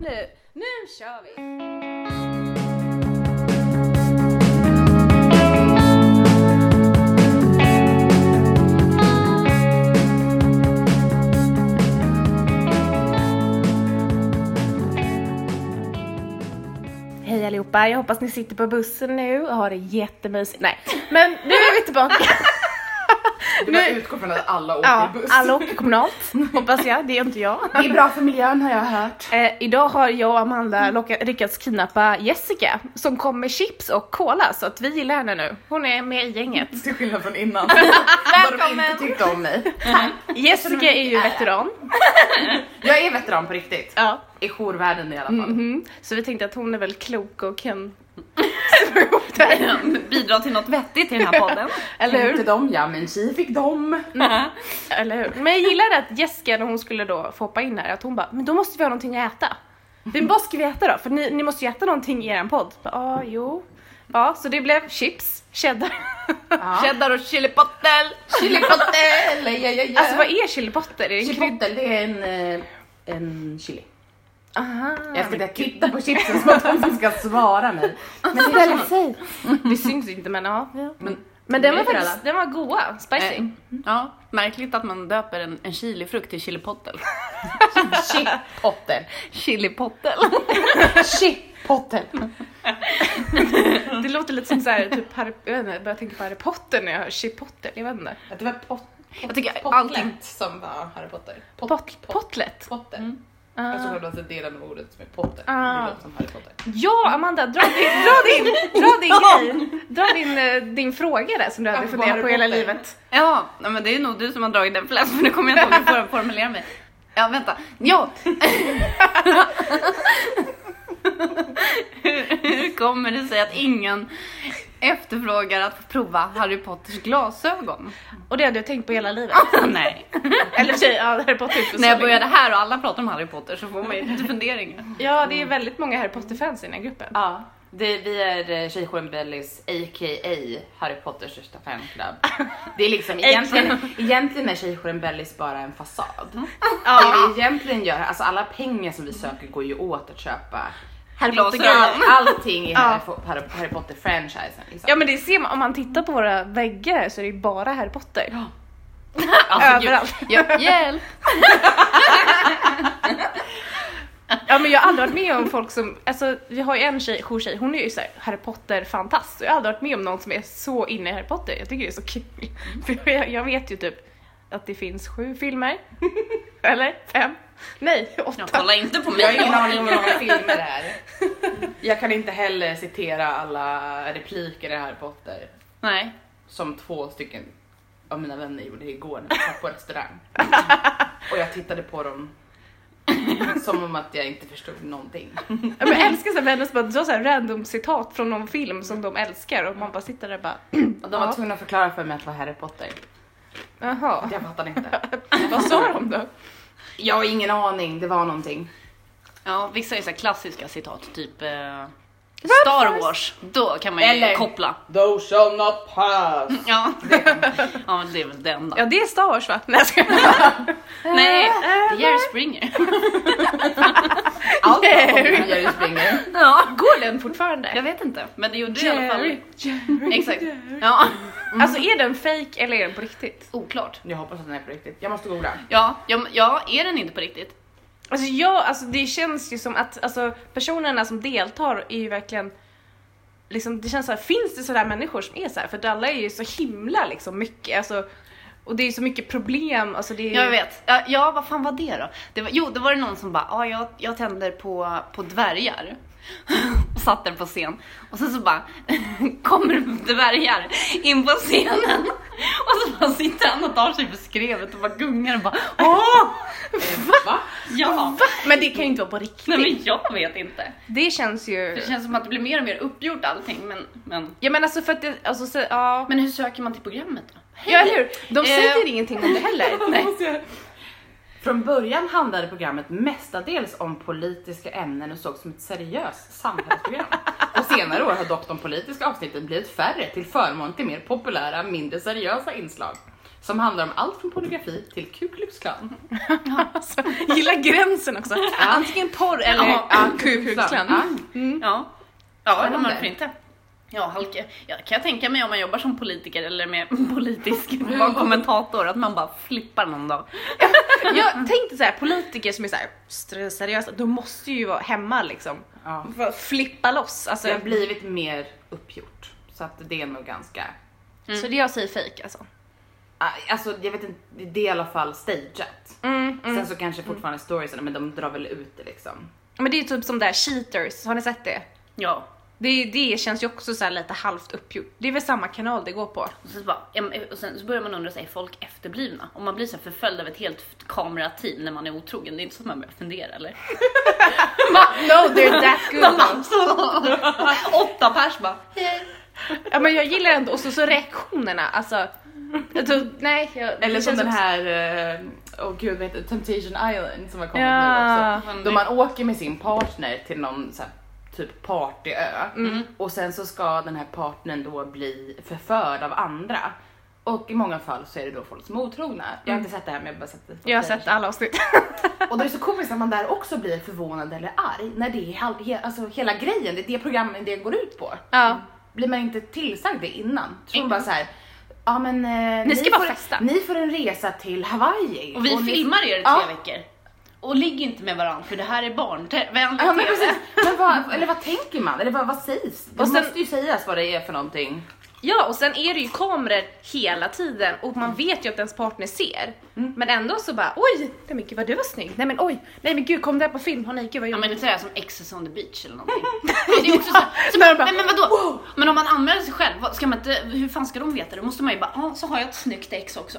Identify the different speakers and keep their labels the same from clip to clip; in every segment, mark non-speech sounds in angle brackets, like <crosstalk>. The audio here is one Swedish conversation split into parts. Speaker 1: Nu, nu kör vi!
Speaker 2: Hej allihopa, jag hoppas ni sitter på bussen nu och har det jättemysigt. Nej, men nu är vi tillbaka.
Speaker 3: Du bara
Speaker 2: Nu-
Speaker 3: utgår från att alla åker
Speaker 2: Ja,
Speaker 1: <laughs>
Speaker 3: buss.
Speaker 2: alla åker kommunalt, hoppas jag. Det är inte jag.
Speaker 3: Det är bra för miljön har jag hört.
Speaker 2: Eh, idag har jag och Amanda locka- lyckats kidnappa Jessica som kom med chips och cola så att vi gillar henne nu. Hon är med i gänget.
Speaker 3: Till skillnad från innan. <laughs> Välkommen! Bara de inte tyckte om mig.
Speaker 2: <laughs> Jessica är ju veteran.
Speaker 3: Jag är veteran på riktigt.
Speaker 2: Ja.
Speaker 3: I jourvärlden i alla fall.
Speaker 2: Mhm. Så vi tänkte att hon är väl klok och kan <laughs> slå ihop det här.
Speaker 1: Bidra till något vettigt i den här
Speaker 2: <laughs>
Speaker 1: podden.
Speaker 2: Eller hur?
Speaker 3: Inte dem ja, men tji fick dem.
Speaker 2: Eller hur? Men jag gillade att Jessica när hon skulle då få hoppa in här att hon bara, men då måste vi ha någonting att äta. Men vad ska vi äta då? För ni, ni måste ju äta någonting i er podd. Ja, ah, jo. Ja, så det blev chips, cheddar.
Speaker 3: Ja.
Speaker 1: Cheddar och chilipotter!
Speaker 3: Chilipotter! Ja, ja, ja.
Speaker 2: Alltså vad är chilipotter? Är det en krydd-
Speaker 3: Chipotle, det är en, eh, en chili.
Speaker 2: Aha.
Speaker 3: Jag ska börja titta på chipsen som att de som ska svara mig. <laughs> Men det är så-
Speaker 2: sig. Det syns inte men ja.
Speaker 3: Men-
Speaker 2: Men den var
Speaker 3: Det är
Speaker 2: faktiskt, den var goa, spicy.
Speaker 1: Eh, Ja, märkligt att man döper en, en chilifrukt till
Speaker 2: <laughs>
Speaker 1: chilipotter.
Speaker 3: Chipotle.
Speaker 1: Chilipotter.
Speaker 3: Chipotle.
Speaker 2: Det låter lite som såhär, typ, Harry- jag vet inte, jag börjar tänka på Harry Potter när jag hör chipotter, jag vet inte.
Speaker 3: Det var pot,
Speaker 1: Jag tycker
Speaker 3: potlet
Speaker 1: allting...
Speaker 3: som var Harry Potter. Pot,
Speaker 2: Pot, potlet.
Speaker 3: Potter.
Speaker 2: Ah.
Speaker 3: Jag tror att det är delen av ordet som är Potter.
Speaker 2: Ah.
Speaker 3: Det låter som Harry Potter.
Speaker 2: Ja Amanda, dra din, dra din, dra din grej. Dra din, eh, din fråga där som du hade
Speaker 3: Varför
Speaker 2: funderat
Speaker 3: bara
Speaker 2: på hela
Speaker 3: Harry Potter?
Speaker 2: livet.
Speaker 1: <laughs> Ja, nej, men det är nog du som har dragit den flest för nu kommer jag inte ihåg hur jag får formulera mig. Ja, vänta.
Speaker 2: <laughs>
Speaker 1: Ja! hur, hur kommer det sig att ingen efterfrågar att få prova Harry Potters
Speaker 2: <laughs>
Speaker 1: glasögon?
Speaker 2: Och det hade jag tänkt på hela livet.
Speaker 1: <laughs> nej.
Speaker 2: Eller tjej, ja, Harry Potter inte så
Speaker 1: När jag
Speaker 2: länge.
Speaker 1: började här och alla pratar om Harry Potter så får man ju lite funderingar.
Speaker 2: Ja det är väldigt många Harry Potter-fans i den här gruppen.
Speaker 3: Ja, det, vi är eh, Tjejjouren Bellys a.k.a. Harry Potters största fanclub. Det är liksom egentligen, egentligen är Tjejjouren Bellys bara en fasad. Det vi egentligen gör, alltså alla pengar som vi söker går ju åt att köpa
Speaker 1: Harry
Speaker 3: All, <laughs> allting i
Speaker 2: Ja.
Speaker 3: Harry, Harry, Harry Potter franchisen. Liksom.
Speaker 2: Ja men det ser man, om man tittar på våra väggar så är det ju bara Harry Potter.
Speaker 1: Alltså, gud.
Speaker 2: Överallt.
Speaker 1: Ja, hjälp!
Speaker 2: Ja men jag har aldrig varit med om folk som, alltså vi har ju en tjej, jourtjej, hon är ju såhär Harry Potter-fantast. Jag har aldrig varit med om någon som är så inne i Harry Potter, jag tycker det är så kul. <laughs> För jag, jag vet ju typ att det finns sju filmer. <laughs> Eller fem? Nej,
Speaker 1: Jag
Speaker 2: åtta.
Speaker 1: kollar inte på mig.
Speaker 3: Jag har ingen aning om hur många filmer det är. Jag kan inte heller citera alla repliker i Harry Potter.
Speaker 1: Nej.
Speaker 3: som två stycken av mina vänner gjorde igår när vi satt på <laughs> restaurang. Och jag tittade på dem som om att jag inte förstod någonting.
Speaker 2: Ja, men jag älskar såhär vänner som bara drar såhär random citat från någon film som de älskar och man bara sitter där och bara
Speaker 3: Och de var
Speaker 2: Ja.
Speaker 3: tvungna att förklara för mig att det var Harry Potter.
Speaker 2: jaha,
Speaker 3: Jag fattade inte.
Speaker 2: vad sa de då?
Speaker 3: Jag har ingen aning, det var någonting.
Speaker 1: Ja, vissa är så här klassiska citat, typ eh, Star Wars. Då kan man ju
Speaker 3: Eller-
Speaker 1: koppla.
Speaker 3: Those shall not pass.
Speaker 1: <laughs> Ja. ja, men det är väl det enda.
Speaker 2: Ja det är Star Wars va? Nej jag skojar.
Speaker 1: Nej,
Speaker 2: Äh,
Speaker 1: det är Springer.
Speaker 3: Allt var som Jerry Springer.
Speaker 1: Ja.
Speaker 2: Går den fortfarande?
Speaker 1: Jag vet inte, men det gjorde det i alla fall.
Speaker 2: Jerry.
Speaker 1: Exakt. Ja.
Speaker 2: Alltså är den fake eller är den på riktigt?
Speaker 1: Oklart.
Speaker 3: Jag hoppas att den är på riktigt. Jag måste googla.
Speaker 1: Ja, ja, men- ja, är den inte på riktigt?
Speaker 2: Alltså jag, alltså det känns ju som att alltså, personerna som deltar är ju verkligen liksom, det känns så här, finns det sådär människor som är så här? För att alla är ju så himla liksom mycket, alltså och det är ju så mycket problem, alltså det är ju...
Speaker 1: Jag
Speaker 2: <laughs>
Speaker 1: vet. Ja, Ja, vad fan var det då? Det var, jo, det var det någon som bara, ja, jag, jag tänder på, på dvärgar. <laughs> och satt där på scen. Och sen så bara, <laughs> kommer dvärgar in på scenen. <laughs> och så bara sitter han och tar sig för skrevet och bara gungar och bara, åh!
Speaker 3: Va?
Speaker 1: Ja!
Speaker 2: Men det kan ju inte vara på riktigt.
Speaker 1: Nej men jag vet inte.
Speaker 2: Det känns ju...
Speaker 1: Det känns som att det blir mer och mer uppgjort allting men, men,
Speaker 2: Ja men alltså för att det, alltså så, ja.
Speaker 1: men hur söker man till programmet då?
Speaker 2: ja eller hur? De
Speaker 1: Eh.
Speaker 2: säger ingenting om det heller. <laughs>
Speaker 3: <laughs> Från början handlade programmet mestadels om politiska ämnen och sågs som ett
Speaker 2: <laughs>
Speaker 3: seriöst samhällsprogram. På senare år har dock de politiska avsnitten blivit färre till förmån till mer populära, mindre seriösa inslag. som handlar om allt från pornografi till Ku Klux Klan.
Speaker 2: Alltså, gilla gränsen också. Antingen porr eller
Speaker 1: Ja.
Speaker 2: ja, Ku Klux Klan.
Speaker 3: Ja.
Speaker 2: Mm.
Speaker 1: Ja, ja
Speaker 3: Spännande.
Speaker 1: varför inte? Ja, halka. Ja, kan jag tänka mig om man jobbar som politiker eller med <laughs>
Speaker 3: <laughs>
Speaker 1: politisk var kommentator att man bara flippar någon dag.
Speaker 2: Jag tänkte så här, politiker som är så här str- seriösa, de måste ju vara hemma liksom.
Speaker 3: Ja.
Speaker 2: Bara Flippa loss. Alltså,
Speaker 3: Det har blivit mer uppgjort. Så att det är nog ganska...
Speaker 2: Så det jag säger fejk alltså.
Speaker 3: Ah, Alltså jag vet inte, det är i alla fall stageat.
Speaker 2: Mm, mm.
Speaker 3: Sen så kanske fortfarande storiesen, men de drar väl ut det liksom.
Speaker 2: Men det är ju typ som det här cheaters, har ni sett det?
Speaker 1: Ja,
Speaker 2: Det, det känns ju också så här lite halvt uppgjort. Det är väl samma kanal det går på.
Speaker 1: och sen så, bara, ja, men- och sen så börjar man undra, så här, är folk efterblivna? Om man blir så här förföljd av ett helt kamerateam när man är otrogen, det är inte så att man börjar fundera eller?
Speaker 3: <laughs>
Speaker 2: No, they're that <laughs>
Speaker 1: Man bara, Åtta pers bara,
Speaker 2: ja, men jag gillar ändå, och så, så reaktionerna alltså. Jag tror, nej, jag, det
Speaker 3: Eller som
Speaker 2: känns
Speaker 3: den
Speaker 2: också-
Speaker 3: här, eh, åh gud vad heter det? Temptation Island som har kommit
Speaker 2: Ja.
Speaker 3: nu också. Då man åker med sin partner till någon så här, typ partyö och sen så ska den här partnern då bli förförd av andra. Och i många fall så är det då folk som är otrogna. Jag har inte sett det här men jag har bara sett det. på
Speaker 2: Mm. Jag har
Speaker 3: trailers.
Speaker 2: sett alla avsnitt.
Speaker 3: Och det är så komiskt att man där också blir förvånad eller arg när det är halv, he, alltså hela grejen, det är det programmet det går ut på.
Speaker 2: ja.
Speaker 3: Blir man inte tillsagd det innan? Tror
Speaker 1: Mm.
Speaker 3: man bara så här, ja men eh, ni,
Speaker 2: ska
Speaker 3: får,
Speaker 2: bara festa."
Speaker 3: Ni får en resa till Hawaii.
Speaker 1: och vi
Speaker 3: ni-
Speaker 1: filmar er i tre
Speaker 3: Ja.
Speaker 1: veckor. Och ligg inte med varandra för det här är barnvänligt
Speaker 3: Ja men
Speaker 1: TV. <laughs>
Speaker 3: precis, men vad, eller vad tänker man? Eller vad, vad sägs? Det
Speaker 2: Och sen-
Speaker 3: måste ju sägas vad det är för någonting.
Speaker 2: Ja, och sen är det ju kameror hela tiden och man vet ju att ens partner ser. Men ändå så bara oj, nej men gud vad du var snygg, nej men oj, nej men gud kom det här på film, oh, nej gud vad
Speaker 1: Ja
Speaker 2: jag
Speaker 1: men det är sådär som Exes on the beach eller
Speaker 3: <laughs>
Speaker 1: någonting. Men det är också så, så
Speaker 2: men
Speaker 1: Alltså, men,
Speaker 2: bara,
Speaker 1: men, vadå? Men om man anmäler sig själv, vad- ska man inte, hur fan ska de veta det? Då måste man ju bara, ja ah, så har jag ett snyggt ex också.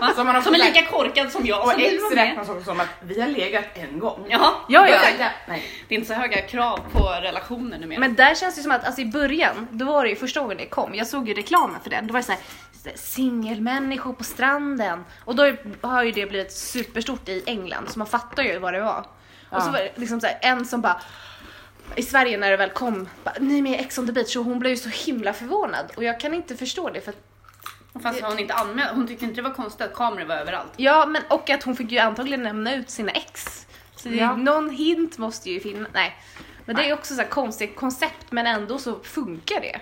Speaker 1: Va?
Speaker 3: Som Alltså, man har
Speaker 1: Som är
Speaker 3: fått-
Speaker 1: lika korkad som jag.
Speaker 3: Och
Speaker 1: som du
Speaker 3: ex
Speaker 1: alltså, var med.
Speaker 3: räknas också som att vi har legat en gång.
Speaker 1: Ja,
Speaker 2: Ja, ja, ja.
Speaker 3: Börja- Nej.
Speaker 1: det är inte så höga krav på relationer numera.
Speaker 2: Men där känns det som att alltså, i början, då var det ju första gången det kom, jag såg ju reklamen för den, då var det så här så här, singelmänniskor på stranden. Och då har ju det blivit superstort i England så man fattar ju vad det var. Och så
Speaker 3: Ja.
Speaker 2: var det liksom så här, en som bara i Sverige när det väl kom, bara, nej men Ex on the beach och hon blev ju så himla förvånad och jag kan inte förstå det för att
Speaker 1: Fast hon inte anmält, hon tyckte inte det var konstigt att kameror var överallt.
Speaker 2: Ja, men och att hon fick ju antagligen nämna ut sina ex. Så det,
Speaker 3: Ja.
Speaker 2: någon hint måste ju finnas. Nej. Men det är ju också så här konstigt koncept, men ändå så funkar det.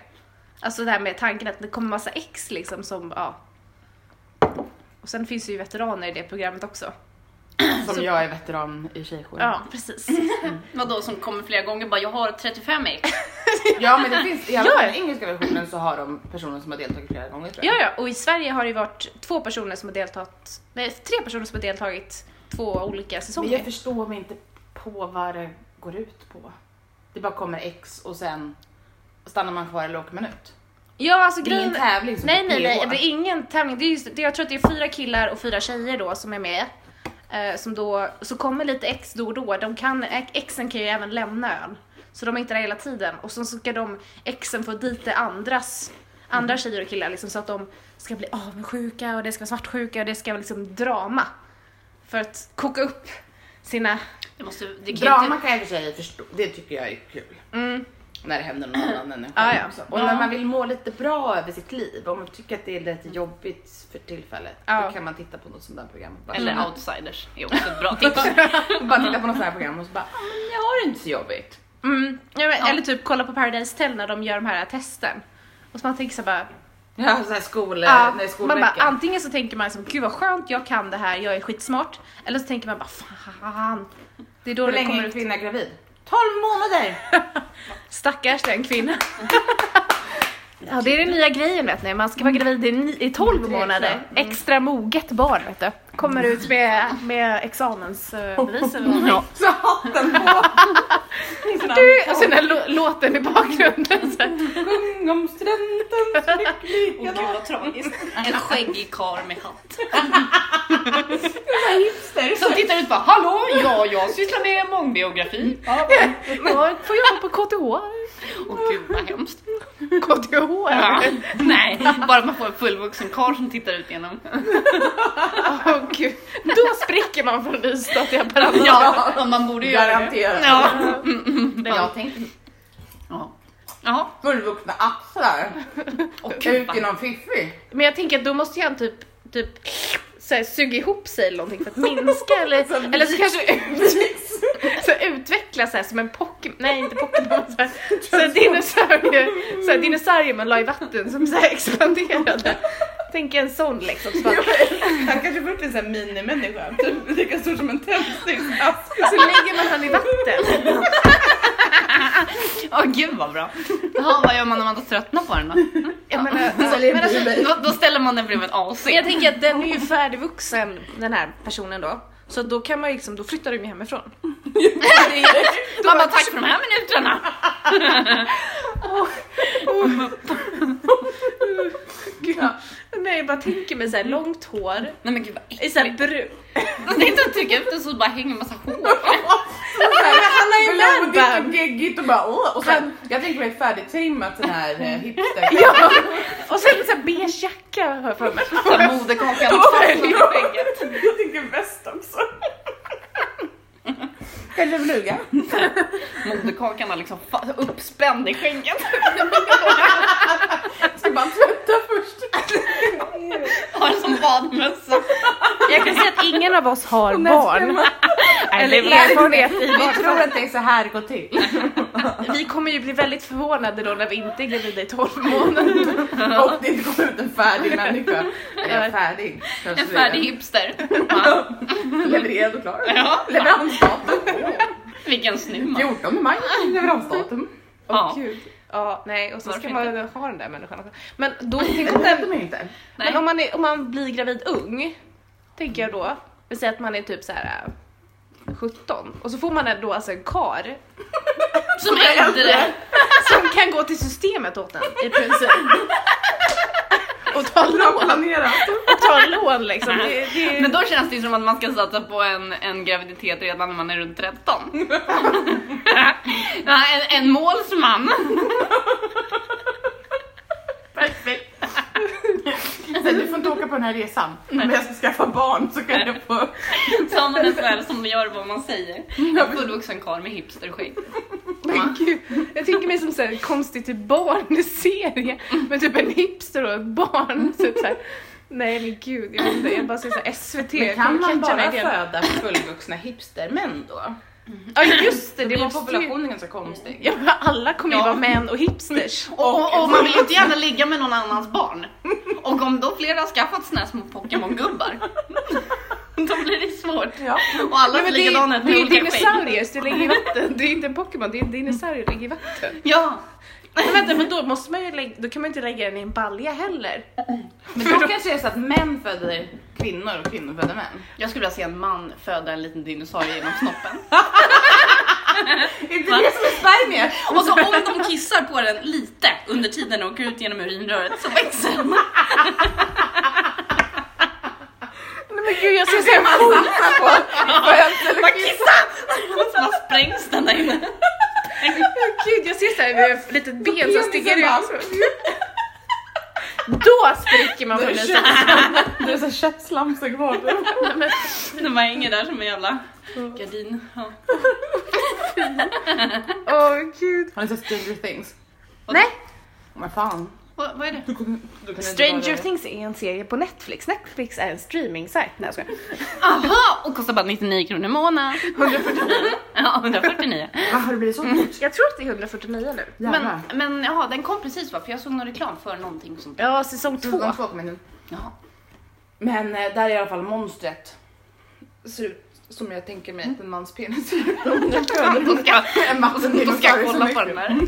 Speaker 2: Alltså det här med tanken att det kommer massa ex liksom som, ja. Och sen finns det ju veteraner i det programmet
Speaker 3: Mm.
Speaker 2: också.
Speaker 3: Som jag är veteran i tjejjouren.
Speaker 2: Ja, precis.
Speaker 1: Vadå som kommer flera gånger bara, jag har 35 ex.
Speaker 3: Ja men det finns, i alla
Speaker 2: Ja.
Speaker 3: fall i engelska versionen så har de personer som har deltagit flera gånger tror
Speaker 2: Ja,
Speaker 3: jag.
Speaker 2: ja, och i Sverige har det ju varit två personer som har deltagit, nej tre personer som har deltagit två olika
Speaker 3: Men
Speaker 2: säsonger.
Speaker 3: jag förstår mig inte på vad det går ut på. Det bara kommer X och sen stannar man kvar eller åker man ut.
Speaker 2: Ja, alltså
Speaker 3: Det är ingen
Speaker 2: grejen...
Speaker 3: tävling som
Speaker 2: Nej
Speaker 3: på
Speaker 2: nej nej,
Speaker 3: PH.
Speaker 2: det är ingen tävling. Det är just, det, jag tror att det är fyra killar och fyra tjejer då som är med. Eh, som då, så kommer lite ex då och då. De kan, exen kan ju även lämna ön. Så de är inte där hela tiden. Och sen så ska de, exen få dit det andras, andra tjejer och killar liksom så att de ska bli avundsjuka och det ska vara svartsjuka och det ska vara liksom drama. För att koka upp sina...
Speaker 1: Det måste, det kan ju
Speaker 3: Drama
Speaker 1: inte,
Speaker 3: kan jag i och för sig förstå, det tycker jag är kul.
Speaker 2: Mm.
Speaker 3: När det händer någon annan människa.
Speaker 2: Ja, ja.
Speaker 3: också. Och
Speaker 1: Ja.
Speaker 3: när man vill må lite bra över sitt liv, om man tycker att det är lite jobbigt för tillfället,
Speaker 2: Ja.
Speaker 3: då kan man titta på något sånt där program. Och bara,
Speaker 1: eller outsiders är också ett
Speaker 3: <laughs>
Speaker 1: bra tips.
Speaker 3: och <laughs> bara titta på något sånt här program och så bara, "Ja, men jag har det inte så jobbigt.
Speaker 2: Mm, ja, men,
Speaker 1: Ja.
Speaker 2: Eller typ kolla på Paradise Hotel när de gör de här testen. Och så man tänker så här bara
Speaker 3: Ja, så här skol,
Speaker 2: Ja,
Speaker 3: nej,
Speaker 2: man bara, "Ah,
Speaker 3: skolveckan.
Speaker 2: antingen så tänker man som gud vad skönt, jag kan det här, jag är skitsmart. Eller så tänker man bara fan. Det är då
Speaker 3: Hur
Speaker 2: det
Speaker 3: länge är
Speaker 2: kommer
Speaker 3: en
Speaker 2: ut.
Speaker 3: kvinna gravid? 12 månader!
Speaker 2: Stackars den
Speaker 3: <laughs>
Speaker 2: kvinnan. ja det är den nya grejen vet ni, man ska vara gravid i, ni- i 12
Speaker 3: Mm.
Speaker 2: månader. Extra moget barn vet du. Kommer ut med, med examensbevis eller
Speaker 3: <laughs>
Speaker 2: någonting.
Speaker 3: Så hatten på!
Speaker 2: Du, och sen den lå- låten i bakgrunden.
Speaker 3: <laughs>
Speaker 2: Så här.
Speaker 3: Typ Sjung om studenten <laughs> så lycklig
Speaker 1: Åh gud vad tragiskt. En skäggig karl med hatt. Som tittar ut bara, hallå, ja jag sysslar med mångbiografi.
Speaker 2: Ja, får jobba på KTH.
Speaker 1: Åh gud vad hemskt.
Speaker 2: KTH? <laughs>
Speaker 1: Ja. Nej, bara att man får en fullvuxen karl som tittar ut genom.
Speaker 2: Åh, gud. Då spricker man från Ystad till Haparanda.
Speaker 1: Ja, men man borde ju göra det.
Speaker 3: Garanterat.
Speaker 1: Ja.
Speaker 3: Men jag tänkte
Speaker 1: Ja. Jaha.
Speaker 3: fullvuxna axlar
Speaker 1: Åh,
Speaker 3: ut
Speaker 1: gud,
Speaker 3: i
Speaker 1: vad-
Speaker 3: någon fiffig.
Speaker 2: Men jag tänker att då måste ju han typ typ så här, suger ihop sig eller någonting för att <laughs> minska eller, eller så kanske <laughs> ut, så utvecklas så här, som en Pokémon, nej inte Pokémon, så här, <laughs> så här, dinosaurier, så här, dinosaurier man la i vatten som så här, expanderade. Tänk en sån liksom. Så, bara,
Speaker 3: Han kanske får upp en sån här minimänniska, typ lika stor som en tändsticksask.
Speaker 2: så lägger man han i vatten.
Speaker 1: Åh gud vad bra. Jaha, vad gör man när man då tröttnar på den då? Mm,
Speaker 2: Jag menar,
Speaker 1: Men alltså, då, då ställer man den bredvid en AC.
Speaker 2: Men jag tänker att den är ju färdigvuxen, den här personen då. Så då kan man ju liksom, då flyttar de ju <laughs> hemifrån.
Speaker 1: Man bara, tack för de här minuterna.
Speaker 2: Ja. Nej, jag bara tänker mig såhär långt hår,
Speaker 1: Nej men gud vad äckligt.
Speaker 2: i såhär brunt.
Speaker 1: Tänkte att trycka ut den så det bara hänger en massa hår.
Speaker 3: Han
Speaker 2: är ju
Speaker 3: Blodigt
Speaker 2: landband.
Speaker 3: och geggigt och bara åh. Och sen, jag tänker mig färdigtrimmat sån här eh, hipster.
Speaker 2: Ja. Och sen såhär beige jacka har jag för mig.
Speaker 1: Så här Moderkakan.
Speaker 3: <laughs> Jag tänker väst också. Kanske fluga.
Speaker 1: Moderkakan har liksom fa- uppspänd i skägget.
Speaker 3: Ska <laughs> bara tvätta först.
Speaker 1: Har som badmössa.
Speaker 2: Jag kan säga att ingen av oss har barn. Eller
Speaker 1: det är-
Speaker 2: erfarenhet i
Speaker 3: Vi
Speaker 2: barn.
Speaker 3: tror att det är så här det går till.
Speaker 2: Vi kommer ju bli väldigt förvånade då när vi inte är gravida i 12 månader.
Speaker 3: <laughs> Och det inte kommer ut en färdig människa. Eller en färdig. kanske
Speaker 1: En
Speaker 3: det är.
Speaker 1: färdig hipster. Ja.
Speaker 3: Levererad och klar.
Speaker 1: Ja.
Speaker 3: Leveransdatum. <laughs>
Speaker 1: Vilken snygg man.
Speaker 3: 14 maj. Leveransdatum.
Speaker 2: Åh
Speaker 1: Ja.
Speaker 2: gud. Ja, nej och så
Speaker 1: Varför
Speaker 2: ska man ha den där människan också. Men då, tänk om
Speaker 3: Det
Speaker 2: den <laughs>
Speaker 3: vet de inte.
Speaker 1: Nej.
Speaker 2: Men om man, är, om man blir gravid ung, tänker jag då, vi säger att man är typ så här äh, 17 och så får man en- då alltså en kar
Speaker 1: Som äldre.
Speaker 2: som kan gå till systemet åt en i princip. Och ta
Speaker 3: Bra
Speaker 2: lån,
Speaker 3: planerat.
Speaker 2: och ta lån liksom. Det, det,
Speaker 1: Men då känns det ju som att man ska satsa på en, en graviditet redan när man är runt
Speaker 2: <laughs>
Speaker 1: 13. Ja, en, en målsman.
Speaker 3: Perfekt. Sen, du får inte åka på den här resan. Men jag ska skaffa barn så kan du få.
Speaker 1: Tar man en själv som gör vad man säger.
Speaker 2: Mm.
Speaker 1: En fullvuxen karl med hipsterskägg.
Speaker 2: men gud, jag tänker mig som så här konstigt typ barnserie med typ en hipster och ett barn. Typ så här. Nej men gud, jag vet inte, jag bara säger såhär SVT.
Speaker 3: Men
Speaker 2: jag
Speaker 3: kan
Speaker 2: kommer
Speaker 3: man
Speaker 2: catcha den
Speaker 3: bara
Speaker 2: idén.
Speaker 3: föda fullvuxna hipstermän då?
Speaker 2: Ja just det,
Speaker 3: Det
Speaker 2: det
Speaker 3: blir
Speaker 2: måste ju...
Speaker 3: populationen ganska konstig.
Speaker 2: Ja, Mm. alla kommer ju
Speaker 1: Ja.
Speaker 2: vara män och hipsters.
Speaker 1: Och, och, och man vill ju inte
Speaker 2: <laughs>
Speaker 1: gärna ligga med någon annans barn. Och om då flera har skaffat såna här små Pokémon-gubbar,
Speaker 2: <laughs>
Speaker 1: då blir det svårt.
Speaker 3: Ja.
Speaker 1: Och alla ser
Speaker 2: Nej, men det,
Speaker 1: likadana
Speaker 2: är-
Speaker 1: ut
Speaker 2: det är ju
Speaker 1: med olika skägg.
Speaker 2: dinosaurier som ligger i vatten, det är inte en Pokémon, det är en dinosaurie som ligger i vatten.
Speaker 1: Ja,
Speaker 2: Men vänta, men då, måste man ju lägga, då kan man ju inte lägga den i en balja heller.
Speaker 3: Men då kanske det är så att män föder kvinnor och kvinnor föder män.
Speaker 1: jag skulle vilja se en man föda en liten dinosaurie genom snoppen.
Speaker 3: Är inte det som är spermier?
Speaker 1: Och så om de kissar på den lite under tiden och åker ut genom urinröret så växer den.
Speaker 2: Nej men gud jag ser såhär
Speaker 1: Man kissar! Och så bara sprängs den där inne.
Speaker 2: gud jag ser såhär ett litet ben som
Speaker 3: Penisen
Speaker 2: sticker
Speaker 3: bara-
Speaker 2: ut. Då spricker man för lite.
Speaker 3: <laughs> Det är så köttslamsor kvar.
Speaker 1: Den bara hänger där som en jävla gardin. Ja.
Speaker 2: Åh gud.
Speaker 3: Har ni sett Stranger Things?
Speaker 2: Nej,
Speaker 3: Men fan.
Speaker 1: Vad, vad är det?
Speaker 3: Du kommer- du kan inte
Speaker 2: Stranger
Speaker 3: vara-
Speaker 2: Things är en serie på Netflix. Netflix är en streaming-sajt. Nej jag skojar.
Speaker 1: Aha! Och kostar bara 99 kronor i månaden. 149. Ja, 149.
Speaker 3: Va, Har det blivit så dyrt?
Speaker 2: Jag tror att det är 149 nu.
Speaker 1: Men, men jaha, den kom precis va? För jag såg någon reklam för någonting sånt där.
Speaker 2: Ja, säsong två.
Speaker 3: Två. Två kommer nu.
Speaker 1: Jaha.
Speaker 3: Men eh, där är i alla fall monstret. Ser ut som jag tänker mig att en mans penis ser ut. <laughs>
Speaker 1: Då ska,
Speaker 3: En vattendel
Speaker 1: då ska jag kolla på den där.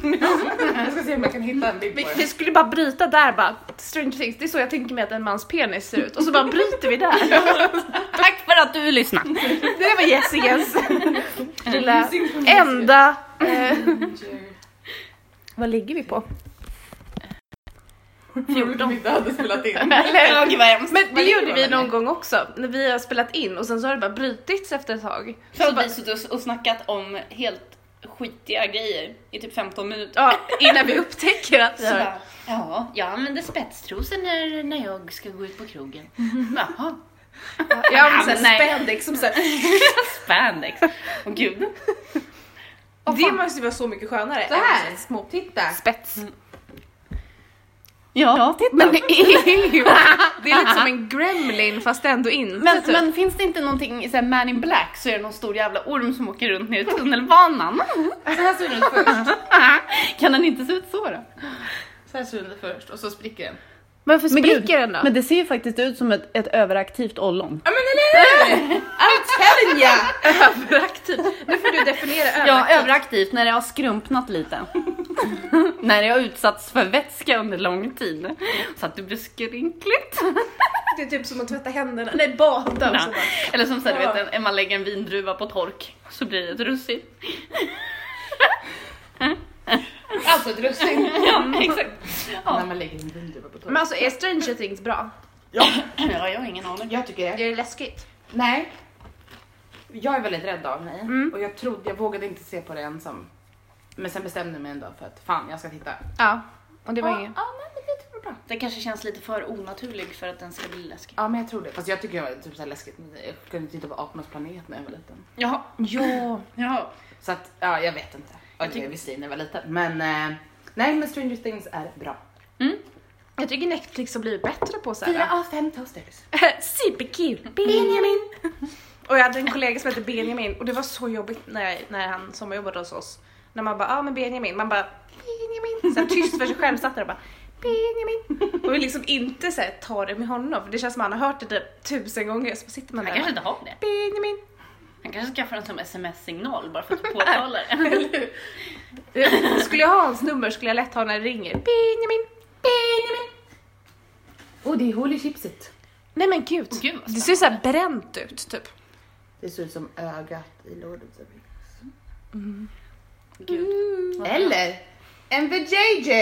Speaker 3: Jag ska se om jag kan hitta en bild på
Speaker 2: Vi,
Speaker 3: den.
Speaker 2: vi skulle bara bryta där bara, Stranger Things, det är så jag tänker mig att en mans penis ser ut. Och så bara bryter vi <laughs> där.
Speaker 1: Tack för att du lyssnade.
Speaker 2: Det var <laughs> Jessicas lilla enda... Eh, <laughs> vad ligger vi på?
Speaker 3: Roligt om vi inte hade spelat in.
Speaker 1: Ja, gud vad hemskt.
Speaker 2: Men det
Speaker 3: ligger
Speaker 2: gjorde
Speaker 3: man
Speaker 2: vi
Speaker 3: eller?
Speaker 2: någon gång också, när vi har spelat in och sen så har det bara brytits efter ett tag.
Speaker 1: Så
Speaker 2: Så
Speaker 1: har
Speaker 2: bara,
Speaker 1: vi suttit och snackat om helt skitiga grejer i typ 15 minuter.
Speaker 2: ja, innan <laughs> vi upptäcker att vi
Speaker 1: Så
Speaker 2: har...
Speaker 1: bara, ja, jag använder spetstrosor när, när jag ska gå ut på <laughs> krogen. Jaha,
Speaker 2: Jag använder
Speaker 3: Alltså,
Speaker 1: Nej.
Speaker 2: spandex som såhär...
Speaker 1: spandex. Åh gud.
Speaker 2: Det måste ju vara så mycket skönare.
Speaker 3: Så här. Titta.
Speaker 2: Spets.
Speaker 1: Ja, titta.
Speaker 2: Mm, Men
Speaker 1: Men,
Speaker 2: det är <laughs> ju... Det är lite som en gremlin fast ändå inte.
Speaker 1: men,
Speaker 2: typ.
Speaker 1: finns det inte någonting i så här Man in Black så är det någon stor jävla orm som åker runt ner i tunnelbanan. <laughs>
Speaker 3: Så här ser den ut först.
Speaker 1: Kan den inte se ut så då?
Speaker 3: Så här ser den ut först och så spricker den.
Speaker 2: Varför spricker den då?
Speaker 1: Men det ser ju faktiskt ut som ett, ett överaktivt ollon.
Speaker 3: Ja men eller
Speaker 2: <laughs>
Speaker 3: hur! I'm telling ya!
Speaker 2: Överaktiv. Nu får du definiera
Speaker 1: Ja,
Speaker 2: överaktiv.
Speaker 1: överaktivt när det har skrumpnat <laughs> lite. när det har utsatts för vätska under lång tid. Så att det blir skrynkligt.
Speaker 2: Det är typ som att tvätta händerna. Nej, bata och
Speaker 1: Alltså
Speaker 2: sådär.
Speaker 1: Eller som såhär, du vet, en- man lägger en vindruva på tork så blir det ett russin.
Speaker 3: Alltså ett russin.
Speaker 1: <laughs> Ja, <laughs> exakt.
Speaker 3: När man lägger en vindruva på
Speaker 2: Men
Speaker 3: toppen.
Speaker 2: alltså är Stranger Things bra?
Speaker 1: Ja, jag har ingen aning.
Speaker 3: Jag tycker det.
Speaker 2: Är det läskigt?
Speaker 3: Nej. Mm. Jag är väldigt rädd av mig och jag trodde, jag vågade inte se på det ensam. Men sen bestämde jag mig en dag för att fan jag ska titta.
Speaker 2: Ja. Och det var
Speaker 3: Ja,
Speaker 2: inget.
Speaker 3: Ja nej, men det tror jag var bra.
Speaker 1: Det kanske känns lite för onaturlig för att den ska bli läskig.
Speaker 3: Ja men jag tror det. Fast jag tycker jag var typ såhär läskigt. Jag kunde titta på Apornas planet när jag var liten.
Speaker 1: Jaha.
Speaker 2: Ja.
Speaker 1: Jaha.
Speaker 3: Så att ja jag vet inte. Jag tycker jag visste när jag var liten. Men eh, nej men Stranger Things är bra.
Speaker 2: Jag tycker Netflix har blivit bättre på
Speaker 3: Fyra
Speaker 2: såhär.
Speaker 3: av fem toasters.
Speaker 2: <laughs> Superkul! Benjamin! och jag hade en kollega som hette Benjamin och det var så jobbigt när, jag, när han sommarjobbade hos oss. När man bara, ja ah, men Benjamin. Man bara, Benjamin. Såhär tyst för sig själv satt där och bara, Benjamin. Och vill liksom inte såhär ta det med honom för det känns som att han har hört det typ tusen gånger. Så sitter man
Speaker 1: Han
Speaker 2: där
Speaker 1: kanske
Speaker 2: och
Speaker 1: inte
Speaker 2: bara,
Speaker 1: har det.
Speaker 2: Benjamin.
Speaker 1: Han kanske skaffar den som sms-signal bara för att <laughs> du påtalar det.
Speaker 2: Eller hur? Skulle jag ha hans nummer skulle jag lätt ha när det ringer. Benjamin, Benjamin.
Speaker 3: Och det är hål i chipset.
Speaker 2: Nej men gud.
Speaker 1: Gud, vad
Speaker 2: det ser såhär bränt ut typ.
Speaker 3: Det ser ut som ögat i Lord of the Rings.
Speaker 1: Gud.
Speaker 3: Eller en VJJ!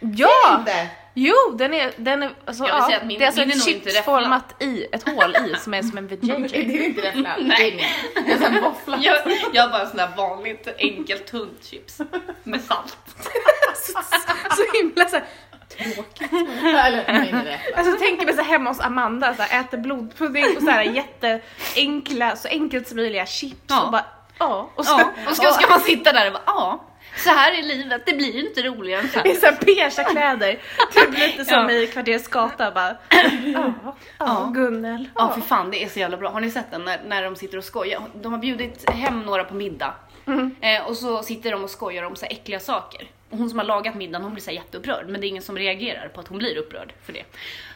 Speaker 2: Ja!
Speaker 3: Inte.
Speaker 2: Jo, den är, den är, alltså,
Speaker 1: Jag vill säga
Speaker 2: ja,
Speaker 1: att min-
Speaker 2: det är alltså
Speaker 1: min
Speaker 2: ett
Speaker 1: är nog inte
Speaker 2: chips format i ett hål i som är som en
Speaker 3: <laughs> Det
Speaker 2: vajayjay.
Speaker 3: är inte rätt namn.
Speaker 1: <laughs>
Speaker 3: Det
Speaker 1: Nej.
Speaker 3: är min. Det är en sån här våffla.
Speaker 1: Jag, jag har bara en sån där vanligt enkelt tunt chips med salt.
Speaker 2: så, så himla såhär.
Speaker 3: <laughs> Eller nej, det är rätt.
Speaker 2: Alltså tänker mig så här hemma hos Amanda, så här, äter blodpudding och så här jätteenkla, så enkelt som möjliga chips
Speaker 1: Ja.
Speaker 2: och bara ja. Och så,
Speaker 1: Ja, och ska, ska man sitta där och bara ja, så här är livet, det blir inte roligare än så
Speaker 2: I
Speaker 1: <laughs> här.
Speaker 2: såhär beigea kläder, typ lite som
Speaker 1: Ja.
Speaker 2: i Kvarterets gata bara. Ja, ja, Gunnel.
Speaker 1: Ja för fan det är så jävla bra. Har ni sett den när, när de sitter och skojar? De har bjudit hem några på middag eh, och så sitter de och skojar om så här äckliga saker. Och hon som har lagat middagen hon blir så här jätteupprörd men det är ingen som reagerar på att hon blir upprörd för det.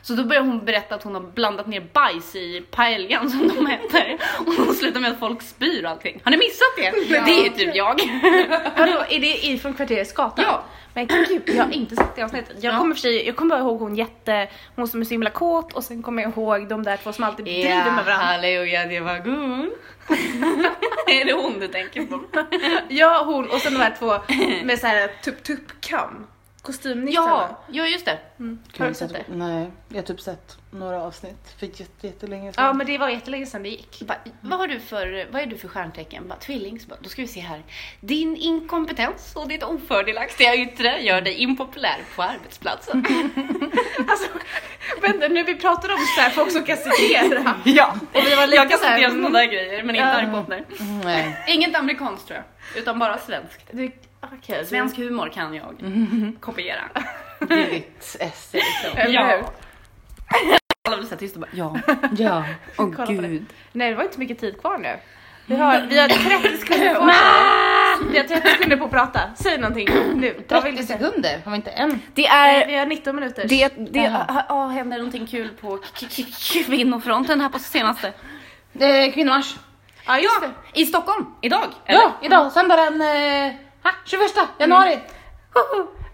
Speaker 1: Så då börjar hon berätta att hon har blandat ner bajs i paellan som de äter och hon slutar med att folk spyr och allting. Har ni missat det?
Speaker 3: Ja.
Speaker 1: Det är ju typ jag.
Speaker 2: Vadå, är det ifrån Kvarterets gata?
Speaker 1: Ja.
Speaker 2: Men gud, jag har inte sett det avsnittet. Jag
Speaker 1: Ja.
Speaker 2: kommer, för sig, jag kommer bara ihåg hon jätte, hon som är så himla kåt och sen kommer jag ihåg de där två som alltid driver med varandra.
Speaker 1: halleluja det var god. <laughs> är det hon du tänker på?
Speaker 2: Ja, hon och sen de här två med så här tupp-tupp-kam. Kostymnissarna.
Speaker 1: Ja, ja just det. Har du sett det?
Speaker 4: Nej, jag har typ sett några avsnitt för jätte- jättelänge sedan.
Speaker 2: Ja, men det var jättelänge sedan det gick.
Speaker 1: Bara, vad, har du för, vad är du för stjärntecken? Bara, tvilling. Så bara, Då ska vi se här. Din inkompetens och ditt ofördelaktiga yttre gör dig impopulär på arbetsplatsen.
Speaker 2: <laughs> Alltså, vänta nu vi pratar om så här, folk som kan <laughs> citera.
Speaker 1: ja, <laughs> och vi var lite jag kan
Speaker 2: så här,
Speaker 1: citera
Speaker 2: mm.
Speaker 1: sådana där grejer men inte
Speaker 2: Ja.
Speaker 1: Harry Potter.
Speaker 4: Nej.
Speaker 1: Inget amerikanskt tror jag, utan bara svenskt.
Speaker 2: Du, okay,
Speaker 1: Svensk humor kan jag <laughs> kopiera.
Speaker 4: Det är ditt esse liksom.
Speaker 1: Ja.
Speaker 2: ja.
Speaker 1: <laughs> Alla blir så här tysta och bara ja.
Speaker 4: Ja.
Speaker 3: <laughs>
Speaker 1: Åh
Speaker 2: Kolla på det.
Speaker 1: gud.
Speaker 2: Nej, det var inte så mycket tid kvar nu. Vi har, vi har 30 sekunder <laughs> kvar. Vi har 30 sekunder på att prata. Säg någonting nu. Vad vill du
Speaker 4: 30
Speaker 2: säga?
Speaker 4: sekunder, har vi inte en?
Speaker 1: Det är
Speaker 2: Vi har 19 minuter.
Speaker 1: Det, det ja. händer någonting kul på k- k- kvinnofronten här på senaste.
Speaker 4: Eh, kvinnomarsch.
Speaker 2: ja, just det.
Speaker 1: I Stockholm, idag.
Speaker 4: Ja, idag, söndag den eh, ha, 21 januari.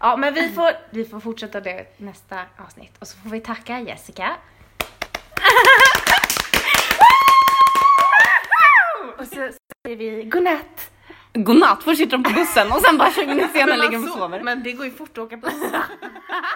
Speaker 2: Ja, men vi får, vi får fortsätta det nästa avsnitt. Och så får vi tacka Jessica. Och så säger vi godnatt.
Speaker 1: alltså, Godnatt, först sitter de på bussen och sen bara 20 minuter senare ligger de och sover.
Speaker 2: Men det går ju fort att åka på